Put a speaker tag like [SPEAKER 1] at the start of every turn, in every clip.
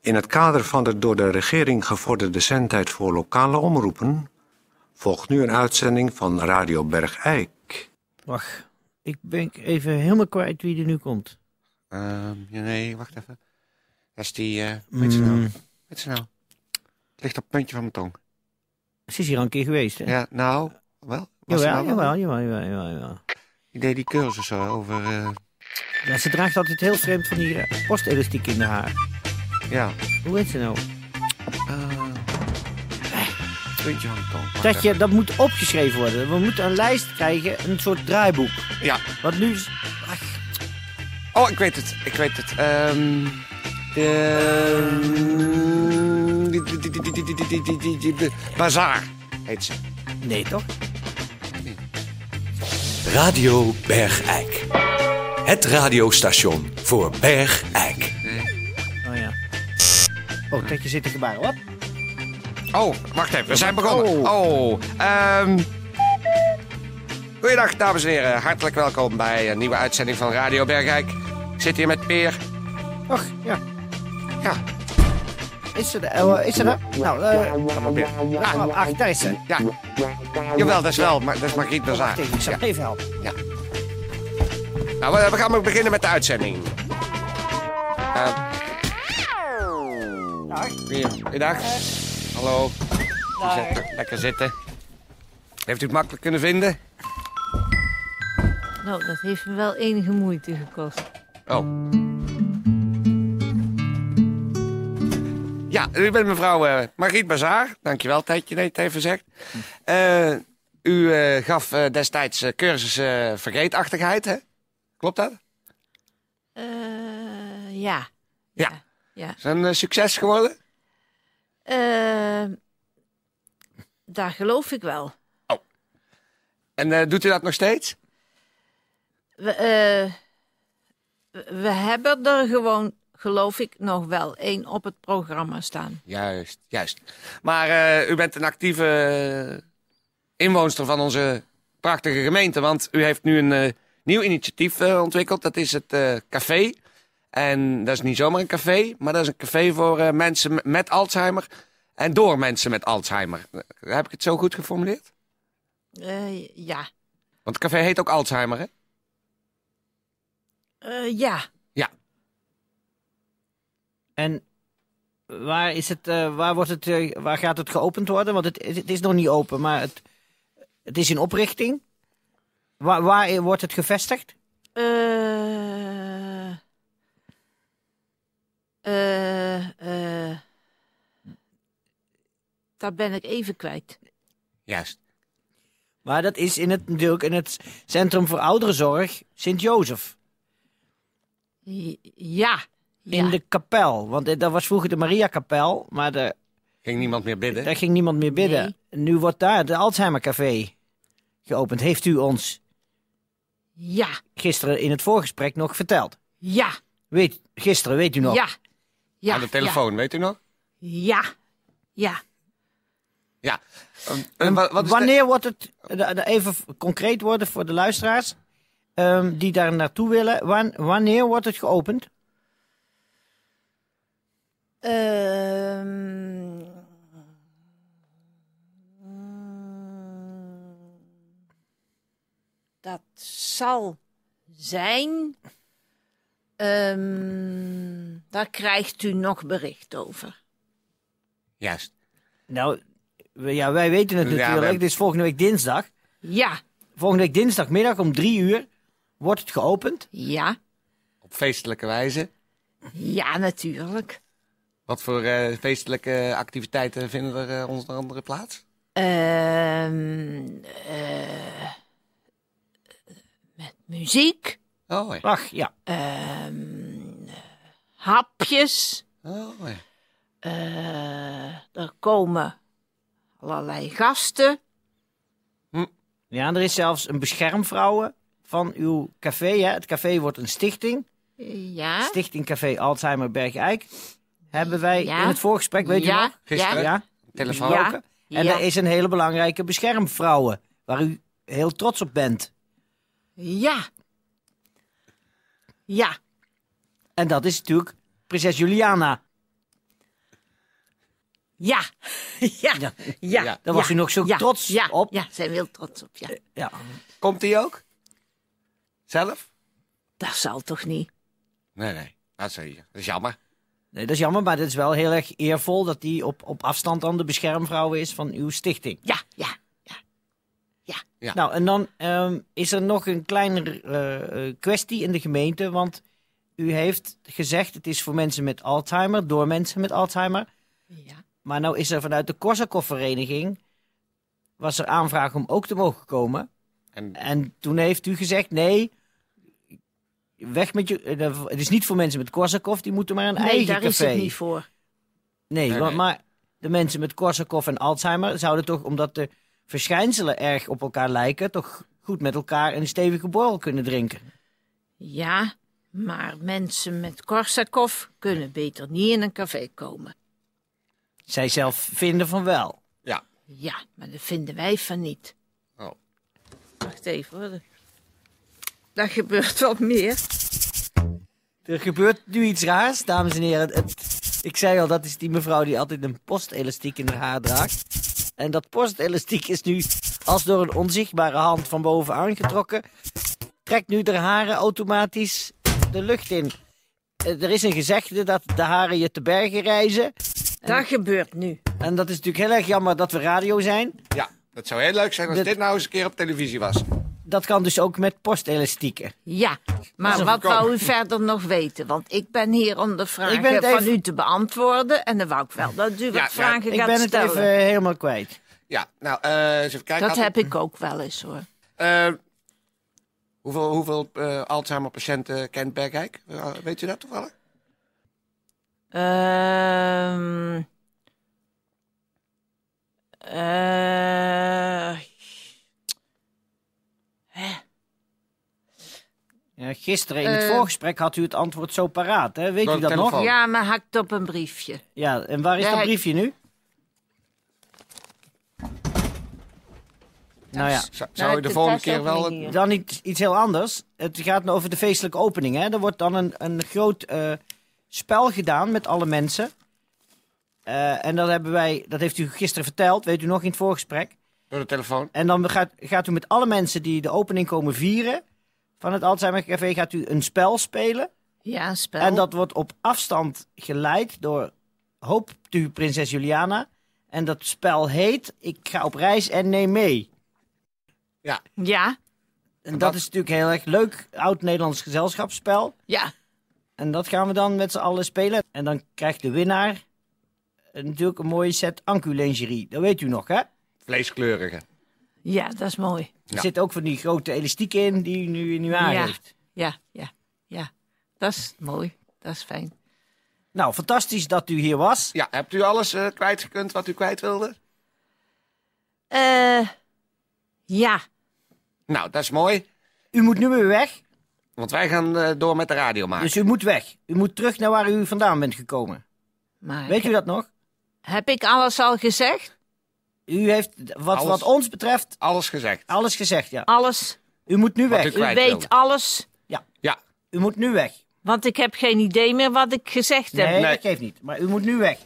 [SPEAKER 1] In het kader van de door de regering gevorderde zendtijd voor lokale omroepen volgt nu een uitzending van Radio Bergijk.
[SPEAKER 2] Wacht, ik ben even helemaal kwijt wie er nu komt.
[SPEAKER 3] Ehm, ja, nee, wacht even. Dat is die, eh, hoe heet ze nou?
[SPEAKER 2] Mm.
[SPEAKER 3] Hoe heet ze nou? Het ligt op het puntje van mijn tong.
[SPEAKER 2] Ze is hier al een keer geweest, hè?
[SPEAKER 3] Ja, nou, wel. Was ze
[SPEAKER 2] jawel,
[SPEAKER 3] nou wel?
[SPEAKER 2] jawel, jawel, jawel, jawel, jawel.
[SPEAKER 3] Die deed die cursus zo over, eh,
[SPEAKER 2] Ja, ze draagt altijd heel vreemd van die eh, postelastiek in haar haar.
[SPEAKER 3] ja,
[SPEAKER 2] Hoe heet ze nou?
[SPEAKER 3] eh, puntje van mijn tong. Wacht
[SPEAKER 2] Dat, je, dat moet opgeschreven worden. We moeten een lijst krijgen, een soort draaiboek.
[SPEAKER 3] even. Ja.
[SPEAKER 2] Wat nu... is- Ach,
[SPEAKER 3] Oh, ik weet het, ik weet het. Ehm de... die- die- die- die- die- die- die- die- die- die- die- die- Bazaar heet ze.
[SPEAKER 2] nee, toch?
[SPEAKER 4] Radio Bergijk. Het radiostation voor Bergijk.
[SPEAKER 2] Oh ja. Oh, Tetje zit te gebaren. Wat?
[SPEAKER 3] Oh, wacht even, we zijn begonnen. Oh, ehm... Goeiedag, dames en heren. Hartelijk welkom bij een nieuwe uitzending van Radio Bergijk. Ik zit hier met Peer.
[SPEAKER 2] Och, ja.
[SPEAKER 3] Ja,
[SPEAKER 2] Is ze er? Oh, is ze er? Nou, eh... Ga maar weer. Ach, daar is ze.
[SPEAKER 3] ja. Jawel, dat is wel, maar dat is Margriet Bazaar.
[SPEAKER 2] Tegen, ik zal
[SPEAKER 3] Ja.
[SPEAKER 2] even helpen.
[SPEAKER 3] Nou, we, we gaan maar beginnen met de uitzending. Eh,
[SPEAKER 2] Dag.
[SPEAKER 3] Hier, goeiedag. Hallo. Zet- Lekker zitten. Heeft u het makkelijk kunnen vinden?
[SPEAKER 5] Nou, dat heeft me wel enige moeite gekost.
[SPEAKER 3] Oh. Ja, u bent mevrouw eh Margriet Bazaar. Dankjewel, Tijdje, dat je het even zegt. Eh, u eh, gaf eh, destijds eh, cursus eh, vergeetachtigheid, hè? Klopt dat?
[SPEAKER 5] Eh, ja.
[SPEAKER 3] Ja.
[SPEAKER 5] Ja.
[SPEAKER 3] Is dat een eh, succes geworden?
[SPEAKER 5] Eh, daar geloof ik wel.
[SPEAKER 3] En eh, doet u dat nog steeds?
[SPEAKER 5] We, eh, we- we hebben er gewoon, geloof ik, nog wel één op het programma staan.
[SPEAKER 3] Juist, juist. Maar eh, u bent een actieve eh, inwoonster van onze prachtige gemeente. Want u heeft nu een eh, nieuw initiatief eh, ontwikkeld. Dat is het eh, café. En dat is niet zomaar een café, maar dat is een café voor eh, mensen m- met Alzheimer. En door mensen met Alzheimer. Eh, Heb ik het zo goed geformuleerd?
[SPEAKER 5] Eh, ja.
[SPEAKER 3] Want het café heet ook Alzheimer, hè?
[SPEAKER 5] Eh, ja.
[SPEAKER 2] En waar, is het, eh, waar, wordt het, eh, waar gaat het geopend worden? Want het, het is nog niet open, maar het, het is in oprichting. Waar, waar wordt het gevestigd?
[SPEAKER 5] Eh, eh, eh, daar ben ik even kwijt.
[SPEAKER 3] Juist.
[SPEAKER 2] Maar dat is in het, natuurlijk in het Centrum voor Ouderenzorg Sint-Jozef.
[SPEAKER 5] Ja.
[SPEAKER 2] In
[SPEAKER 5] ja.
[SPEAKER 2] de kapel. Want eh, dat was vroeger de Maria-kapel, maar de,
[SPEAKER 3] Ging niemand meer bidden?
[SPEAKER 2] daar ging niemand meer bidden. Nu wordt daar de Alzheimer-café geopend. Heeft u ons
[SPEAKER 5] Ja.
[SPEAKER 2] gisteren in het voorgesprek nog verteld?
[SPEAKER 5] Ja.
[SPEAKER 2] Weet, gisteren, weet u nog?
[SPEAKER 5] Ja. ja.
[SPEAKER 3] Aan de telefoon, weet u nog?
[SPEAKER 5] Ja. Ja.
[SPEAKER 3] Ja. En wa- wat is de-
[SPEAKER 2] Wanneer wordt het, de- de- even v- concreet worden voor de luisteraars ehm, die daar naartoe willen, wan- wanneer wordt het geopend?
[SPEAKER 5] Ehm. dat zal zijn. Ehm, daar krijgt u nog bericht over.
[SPEAKER 3] Juist.
[SPEAKER 2] Nou, we- ja, wij weten het
[SPEAKER 3] Ja,
[SPEAKER 2] natuurlijk,
[SPEAKER 3] wij-
[SPEAKER 2] dit is volgende week dinsdag.
[SPEAKER 5] Ja.
[SPEAKER 2] Volgende week dinsdagmiddag om drie uur wordt het geopend.
[SPEAKER 5] Ja.
[SPEAKER 3] Op feestelijke wijze.
[SPEAKER 5] Ja, natuurlijk.
[SPEAKER 3] Wat voor eh, feestelijke activiteiten vinden er eh, onder andere plaats?
[SPEAKER 5] Ehm, eh, met muziek,
[SPEAKER 3] Oh ja.
[SPEAKER 2] Ach, ja.
[SPEAKER 5] ehm, hapjes.
[SPEAKER 3] Oh, ja.
[SPEAKER 5] Eh, er komen allerlei gasten.
[SPEAKER 2] Ja, er is zelfs een beschermvrouwen van uw café. Hè? Het café wordt een stichting.
[SPEAKER 5] Ja.
[SPEAKER 2] Stichting Café Alzheimer Bergijk. Hebben wij
[SPEAKER 5] Ja.
[SPEAKER 2] in het voorgesprek, weet
[SPEAKER 5] ja,
[SPEAKER 2] u nog?
[SPEAKER 3] Gisteren?
[SPEAKER 2] Ja.
[SPEAKER 3] Telefoon.
[SPEAKER 5] Ja.
[SPEAKER 2] gesproken. En
[SPEAKER 5] ja.
[SPEAKER 2] er is een hele belangrijke beschermvrouwen, waar u heel trots op bent.
[SPEAKER 5] Ja. Ja.
[SPEAKER 2] En dat is natuurlijk prinses Juliana.
[SPEAKER 5] Ja, ja, ja.
[SPEAKER 2] Ja. Daar was
[SPEAKER 5] ja,
[SPEAKER 2] u nog zo
[SPEAKER 5] ja,
[SPEAKER 2] trots
[SPEAKER 5] ja,
[SPEAKER 2] op.
[SPEAKER 5] Ja, zijn we heel trots op, ja.
[SPEAKER 2] Ja.
[SPEAKER 3] Komt die ook? Zelf?
[SPEAKER 5] Dat zal toch niet?
[SPEAKER 3] Nee, nee. Dat is, dat is jammer.
[SPEAKER 2] Nee, dat is jammer, maar dat is wel heel erg eervol dat die op, op afstand dan de beschermvrouw is van uw stichting.
[SPEAKER 5] Ja, ja, ja.
[SPEAKER 3] Ja.
[SPEAKER 2] Nou, en dan ehm, is er nog een kleine eh, eh, kwestie in de gemeente. Want u heeft gezegd, het is voor mensen met Alzheimer, door mensen met Alzheimer.
[SPEAKER 5] ja.
[SPEAKER 2] Maar nou is er vanuit de Korsakoff-vereniging, was er aanvraag om ook te mogen komen.
[SPEAKER 3] En-
[SPEAKER 2] En, toen heeft u gezegd, nee, weg met je... eh, dat- Het is niet voor mensen met Korsakoff, die moeten maar een
[SPEAKER 5] Nee,
[SPEAKER 2] eigen
[SPEAKER 5] daar
[SPEAKER 2] café.
[SPEAKER 5] is het niet voor.
[SPEAKER 2] Nee,
[SPEAKER 3] Nee,
[SPEAKER 2] wa-
[SPEAKER 3] nee.
[SPEAKER 2] maar de mensen met Korsakoff en Alzheimer zouden toch, omdat de verschijnselen erg op elkaar lijken, toch goed met elkaar een stevige borrel kunnen drinken.
[SPEAKER 5] Ja, maar mensen met Korsakoff kunnen beter niet in een café komen.
[SPEAKER 2] Zij zelf vinden van wel.
[SPEAKER 3] Ja.
[SPEAKER 5] Ja, maar dat vinden wij van niet.
[SPEAKER 3] Oh.
[SPEAKER 5] Wacht even hoor. Daar gebeurt wat meer.
[SPEAKER 2] Er gebeurt nu iets raars, dames en heren. Het- ik zei al, dat is die mevrouw die altijd een postelastiek in haar haar draagt. En dat postelastiek is nu als door een onzichtbare hand van boven aangetrokken. Trekt nu de haren automatisch de lucht in. Eh, Er is een gezegde dat de haren je te bergen reizen.
[SPEAKER 5] Dat gebeurt nu.
[SPEAKER 2] En dat is natuurlijk heel erg jammer dat we radio zijn.
[SPEAKER 3] ja, dat zou heel leuk zijn als
[SPEAKER 2] Dat-
[SPEAKER 3] dit nou eens een keer op televisie was.
[SPEAKER 2] Dat kan dus ook met postelastieken.
[SPEAKER 5] Ja, maar
[SPEAKER 3] een
[SPEAKER 5] wat
[SPEAKER 3] voorkomen.
[SPEAKER 5] wou u verder nog weten? Want ik ben hier om de vragen
[SPEAKER 2] Ik ben het even-
[SPEAKER 5] van u te beantwoorden. En dan wou ik wel dat u wat
[SPEAKER 3] ja,
[SPEAKER 5] vragen
[SPEAKER 2] Ik
[SPEAKER 5] gaat
[SPEAKER 2] ben het
[SPEAKER 5] stellen.
[SPEAKER 2] even eh, helemaal kwijt.
[SPEAKER 3] Ja, nou, eh eens even kijken.
[SPEAKER 5] Dat
[SPEAKER 3] Had-
[SPEAKER 5] heb ik ook wel eens hoor.
[SPEAKER 3] Eh, hoeveel hoeveel eh, Alzheimer-patiënten kent Bergijk? Eh, weet je dat toevallig?
[SPEAKER 5] Ehm eh,
[SPEAKER 2] Ja, gisteren in het
[SPEAKER 5] Eh.
[SPEAKER 2] voorgesprek had u het antwoord zo paraat, hè? Weet
[SPEAKER 3] Door
[SPEAKER 2] u
[SPEAKER 3] de
[SPEAKER 2] dat nog?
[SPEAKER 3] telefoon.
[SPEAKER 5] ja, maar hakt op een briefje.
[SPEAKER 2] Ja, en waar is
[SPEAKER 5] Nee,
[SPEAKER 2] dat
[SPEAKER 5] hij-
[SPEAKER 2] briefje nu? Nou ja, dus-
[SPEAKER 3] Zou,
[SPEAKER 5] Nou,
[SPEAKER 3] zou je de
[SPEAKER 5] dat-
[SPEAKER 3] volgende
[SPEAKER 5] dat is
[SPEAKER 3] keer
[SPEAKER 5] ook
[SPEAKER 3] wel...
[SPEAKER 5] niet
[SPEAKER 3] Het...
[SPEAKER 5] hier.
[SPEAKER 2] dan iets, iets heel anders. Het gaat nou over de feestelijke opening, hè? Er wordt dan een, een groot eh, spel gedaan met alle mensen. Eh, en dat, hebben wij, dat heeft u gisteren verteld, weet u nog in het voorgesprek.
[SPEAKER 3] Door de telefoon?
[SPEAKER 2] En dan gaat, gaat u met alle mensen die de opening komen vieren van het Alzheimer Café, gaat u een spel spelen.
[SPEAKER 5] Ja, een spel.
[SPEAKER 2] En dat wordt op afstand geleid door, hoopt u, prinses Juliana. En dat spel heet Ik ga op reis en neem mee.
[SPEAKER 5] Ja,
[SPEAKER 2] En dat, is natuurlijk heel erg leuk, oud-Nederlands gezelschapsspel.
[SPEAKER 5] ja.
[SPEAKER 2] En dat gaan we dan met z'n allen spelen. En dan krijgt de winnaar eh, natuurlijk een mooie set Ancu-lingerie. Dat weet u nog, hè?
[SPEAKER 3] Vleeskleurige.
[SPEAKER 5] Ja, dat is mooi.
[SPEAKER 2] Er zit ook van die grote elastieken in die u nu, nu aan
[SPEAKER 5] Ja.
[SPEAKER 2] heeft.
[SPEAKER 5] Ja, ja, ja. Dat is mooi. Dat is fijn.
[SPEAKER 2] Nou, fantastisch dat u hier was.
[SPEAKER 3] Ja, hebt u alles eh, kwijtgekund wat u kwijt wilde?
[SPEAKER 5] Eh ja,
[SPEAKER 3] Nou, dat is mooi.
[SPEAKER 2] U moet nu weer weg,
[SPEAKER 3] Want wij gaan eh, door met de radio maken.
[SPEAKER 2] dus u moet weg. U moet terug naar waar u vandaan bent gekomen.
[SPEAKER 5] maar
[SPEAKER 2] Weet u dat nog?
[SPEAKER 5] heb ik alles al gezegd?
[SPEAKER 2] U heeft, wat,
[SPEAKER 3] Alles.
[SPEAKER 2] wat ons betreft,
[SPEAKER 3] Alles gezegd.
[SPEAKER 2] alles gezegd, ja.
[SPEAKER 5] Alles.
[SPEAKER 2] U moet nu
[SPEAKER 3] Wat
[SPEAKER 2] weg.
[SPEAKER 3] ik-
[SPEAKER 5] U
[SPEAKER 3] Kwijt
[SPEAKER 5] weet
[SPEAKER 3] wilde.
[SPEAKER 5] alles.
[SPEAKER 3] Ja,
[SPEAKER 2] U moet nu weg.
[SPEAKER 5] Want ik heb geen idee meer wat ik gezegd heb.
[SPEAKER 2] Nee,
[SPEAKER 3] Nee.
[SPEAKER 2] dat geeft niet. Maar u moet nu weg.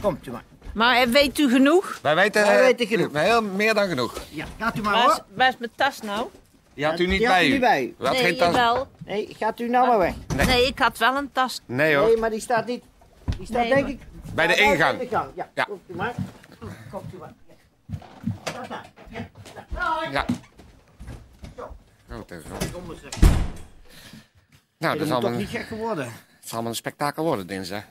[SPEAKER 2] Komt u maar.
[SPEAKER 5] Maar eh, weet u genoeg?
[SPEAKER 3] wij weten,
[SPEAKER 2] Wij
[SPEAKER 3] eh,
[SPEAKER 2] weten genoeg.
[SPEAKER 3] Heel, meer dan genoeg.
[SPEAKER 2] Ja, gaat u maar
[SPEAKER 5] Waar is,
[SPEAKER 2] hoor.
[SPEAKER 5] waar is mijn tas nou?
[SPEAKER 3] Die had u niet
[SPEAKER 2] Die had
[SPEAKER 3] bij
[SPEAKER 2] u
[SPEAKER 3] u.
[SPEAKER 2] niet bij u.
[SPEAKER 3] U had
[SPEAKER 5] nee,
[SPEAKER 3] geen tas-
[SPEAKER 5] jawel.
[SPEAKER 2] Nee, gaat u nou maar weg.
[SPEAKER 5] Nee. ik had wel een tas.
[SPEAKER 3] Nee hoor.
[SPEAKER 2] Nee, maar die staat niet. Die staat
[SPEAKER 5] Nee,
[SPEAKER 2] denk
[SPEAKER 5] maar-
[SPEAKER 2] ik...
[SPEAKER 3] Bij de
[SPEAKER 2] Ja,
[SPEAKER 3] ingang.
[SPEAKER 2] Bij de ingang, ja.
[SPEAKER 3] Ja.
[SPEAKER 2] Komt u maar. Komt u maar. Ja. Dag, dag.
[SPEAKER 3] Ja. Oh, dat is wel-
[SPEAKER 2] Domme zeg.
[SPEAKER 3] Nou, dat
[SPEAKER 2] Dat
[SPEAKER 3] is
[SPEAKER 2] moet
[SPEAKER 3] allemaal,
[SPEAKER 2] toch niet gek geworden.
[SPEAKER 3] het zal allemaal een spektakel worden dinsdag.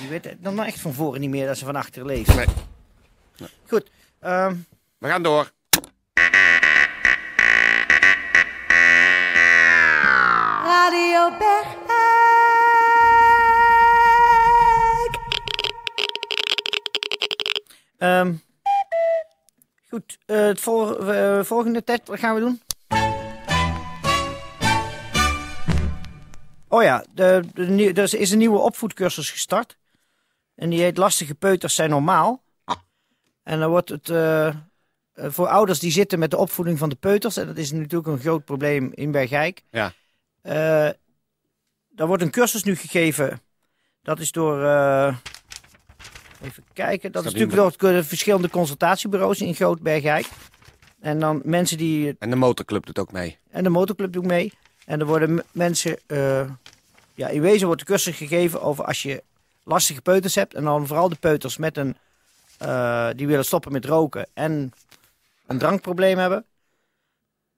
[SPEAKER 2] Je weet het dan maar echt van voren niet meer dat ze van achter lezen.
[SPEAKER 3] Nee.
[SPEAKER 2] Goed. ehm,
[SPEAKER 3] We gaan door.
[SPEAKER 6] Radio Bergijk.
[SPEAKER 2] ehm, goed. eh, het vol- eh, volgende test, wat gaan we doen? Oh ja, de, de, nieuw- er is een nieuwe opvoedcursus gestart. En die heet Lastige peuters zijn normaal. En dan wordt het eh, eh, voor ouders die zitten met de opvoeding van de peuters... en dat is natuurlijk een groot probleem in Bergijk...
[SPEAKER 3] Ja.
[SPEAKER 2] Eh, daar wordt een cursus nu gegeven Dat is door. eh, even kijken. Dat is
[SPEAKER 3] Staat
[SPEAKER 2] natuurlijk door het, eh, verschillende consultatiebureaus in Grootbergijk. En dan mensen die.
[SPEAKER 3] En de motorclub doet ook mee.
[SPEAKER 2] En de motorclub doet mee. En er worden m- mensen. eh, ja, in wezen wordt de cursus gegeven over als je lastige peuters hebt. En dan vooral de peuters met een. eh, die willen stoppen met roken en een drankprobleem hebben.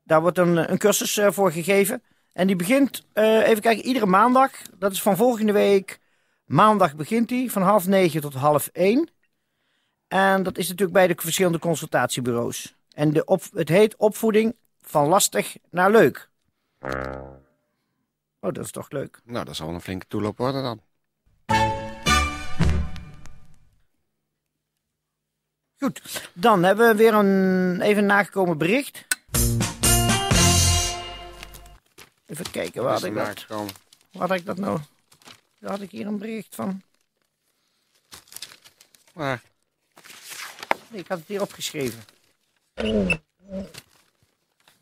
[SPEAKER 2] Daar wordt een, een cursus eh, voor gegeven. En die begint, eh, even kijken, iedere maandag. Dat is van volgende week. Maandag begint die, van half negen tot half één. En dat is natuurlijk bij de verschillende consultatiebureaus. En de op, het heet opvoeding van lastig naar leuk. Oh, dat is toch leuk.
[SPEAKER 3] Nou, dat zal wel een flinke toeloop worden dan.
[SPEAKER 2] Goed, dan hebben we weer een even een nagekomen bericht. Even kijken, waar
[SPEAKER 3] Is
[SPEAKER 2] had
[SPEAKER 3] er
[SPEAKER 2] ik
[SPEAKER 3] naar
[SPEAKER 2] dat?
[SPEAKER 3] gekomen.
[SPEAKER 2] Waar had ik dat nou? Daar had ik hier een bericht van.
[SPEAKER 3] Maar
[SPEAKER 2] Nee, ik had het hier opgeschreven.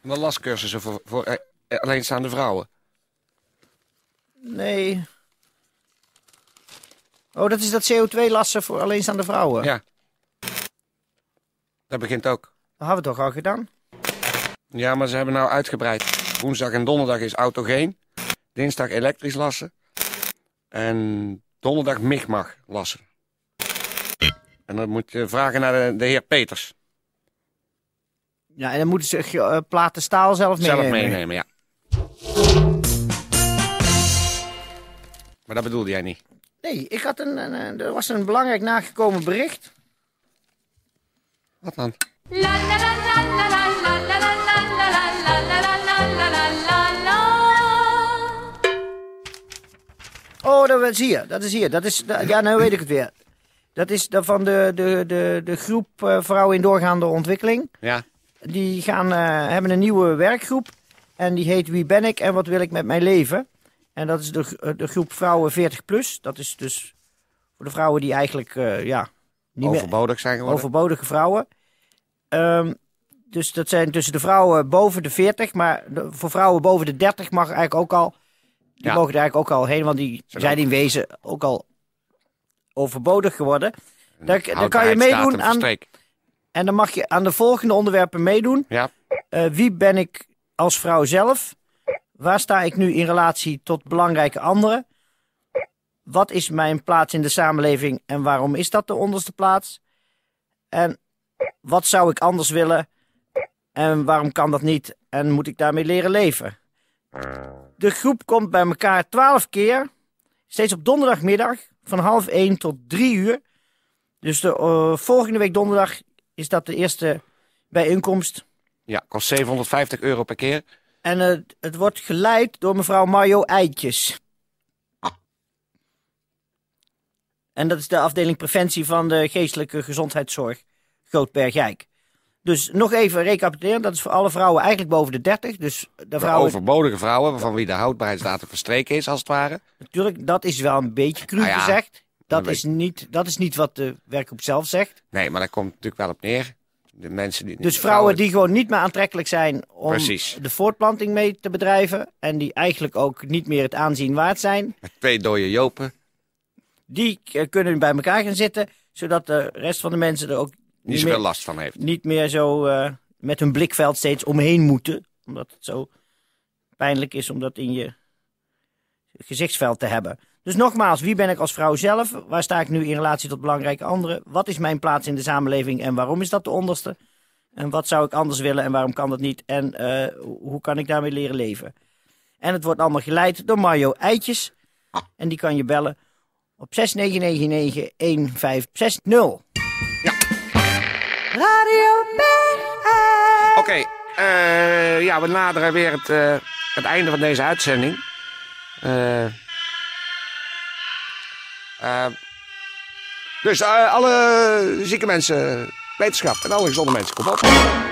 [SPEAKER 3] wel lastcursussen voor, voor eh, eh, alleenstaande vrouwen.
[SPEAKER 2] Nee. Oh, dat is dat CO2-lassen voor alleenstaande vrouwen.
[SPEAKER 3] Ja. Dat begint ook.
[SPEAKER 2] Dat hebben we toch al gedaan?
[SPEAKER 3] Ja, maar ze hebben nou uitgebreid. Woensdag en donderdag is autogeen. Dinsdag elektrisch lassen. En donderdag migmag lassen. En dan moet je vragen naar de, de heer Peters.
[SPEAKER 2] Ja, en dan moeten ze eh, platen staal zelf meenemen.
[SPEAKER 3] Zelf meenemen, ja. Maar dat bedoelde jij niet.
[SPEAKER 2] Nee, ik had een, een- een- er was een belangrijk nagekomen bericht.
[SPEAKER 3] Wat dan?
[SPEAKER 6] La la la la la la la la la la la la la la la la la la la.
[SPEAKER 2] Oh, dat was hier. Dat is hier. Dat is, da- ja, nou weet ik het weer. Dat is da- van de, de, de, de groep eh, Vrouwen in Doorgaande Ontwikkeling.
[SPEAKER 3] Ja.
[SPEAKER 2] Die gaan, eh, hebben een nieuwe werkgroep. En die heet Wie ben ik en wat wil ik met mijn leven? En dat is de, gro- eh, de groep Vrouwen 40 plus. Dat is dus voor de vrouwen die eigenlijk eh, ja, niet meer
[SPEAKER 3] Overbodig zijn geworden.
[SPEAKER 2] overbodige vrouwen. Ehm, dus dat zijn tussen de vrouwen boven de 40. Maar de- voor vrouwen boven de 30 mag eigenlijk ook al. Die
[SPEAKER 3] Ja.
[SPEAKER 2] mogen er eigenlijk ook al heen, want die
[SPEAKER 3] Zijn
[SPEAKER 2] zijn
[SPEAKER 3] ook-
[SPEAKER 2] in wezen ook al overbodig geworden. Daar,
[SPEAKER 3] Een
[SPEAKER 2] daar kan je
[SPEAKER 3] houdbaarheidsdatum
[SPEAKER 2] meedoen aan.
[SPEAKER 3] verstreek.
[SPEAKER 2] En dan mag je aan de volgende onderwerpen meedoen.
[SPEAKER 3] Ja.
[SPEAKER 2] Eh, wie ben ik als vrouw zelf? Waar sta ik nu in relatie tot belangrijke anderen? Wat is mijn plaats in de samenleving en waarom is dat de onderste plaats? En wat zou ik anders willen en waarom kan dat niet en moet ik daarmee leren leven? De groep komt bij elkaar twaalf keer, steeds op donderdagmiddag van half één tot drie uur. Dus de, eh, volgende week donderdag is dat de eerste bijeenkomst.
[SPEAKER 3] Ja, kost 750 euro per keer.
[SPEAKER 2] En eh, het wordt geleid door mevrouw Mario Eitjes. En dat is de afdeling preventie van de geestelijke gezondheidszorg Grootbergijk. Dus nog even recapituleren, dat is voor alle vrouwen eigenlijk boven de 30. Dus de
[SPEAKER 3] Voor
[SPEAKER 2] vrouwen,
[SPEAKER 3] overbodige vrouwen, van wie de houdbaarheidsdatum verstreken is, als het ware.
[SPEAKER 2] natuurlijk, dat is wel een beetje cru
[SPEAKER 3] Nou ja,
[SPEAKER 2] gezegd. Dat
[SPEAKER 3] weet
[SPEAKER 2] is, niet, dat is niet wat de werkgroep zelf zegt.
[SPEAKER 3] Nee, maar daar komt natuurlijk wel op neer. De mensen die,
[SPEAKER 2] Dus vrouwen die gewoon niet meer aantrekkelijk zijn om
[SPEAKER 3] Precies.
[SPEAKER 2] de voortplanting mee te bedrijven. En die eigenlijk ook niet meer het aanzien waard zijn.
[SPEAKER 3] Met twee dode jopen.
[SPEAKER 2] Die eh, kunnen bij elkaar gaan zitten, zodat de rest van de mensen er ook
[SPEAKER 3] Die
[SPEAKER 2] niet
[SPEAKER 3] zoveel
[SPEAKER 2] meer,
[SPEAKER 3] last van heeft.
[SPEAKER 2] niet meer zo eh, met hun blikveld steeds omheen moeten. Omdat het zo pijnlijk is om dat in je gezichtsveld te hebben. Dus nogmaals, wie ben ik als vrouw zelf? Waar sta ik nu in relatie tot belangrijke anderen? Wat is mijn plaats in de samenleving en waarom is dat de onderste? En wat zou ik anders willen en waarom kan dat niet? En eh, hoe kan ik daarmee leren leven? En het wordt allemaal geleid door Mario Eitjes. En die kan je bellen op 69991560.
[SPEAKER 6] Radio Bergijk.
[SPEAKER 3] Oké, eh, ja, we naderen weer het, eh, het einde van deze uitzending. Eh, eh, dus eh, alle zieke mensen, wetenschap en alle gezonde mensen, kom op.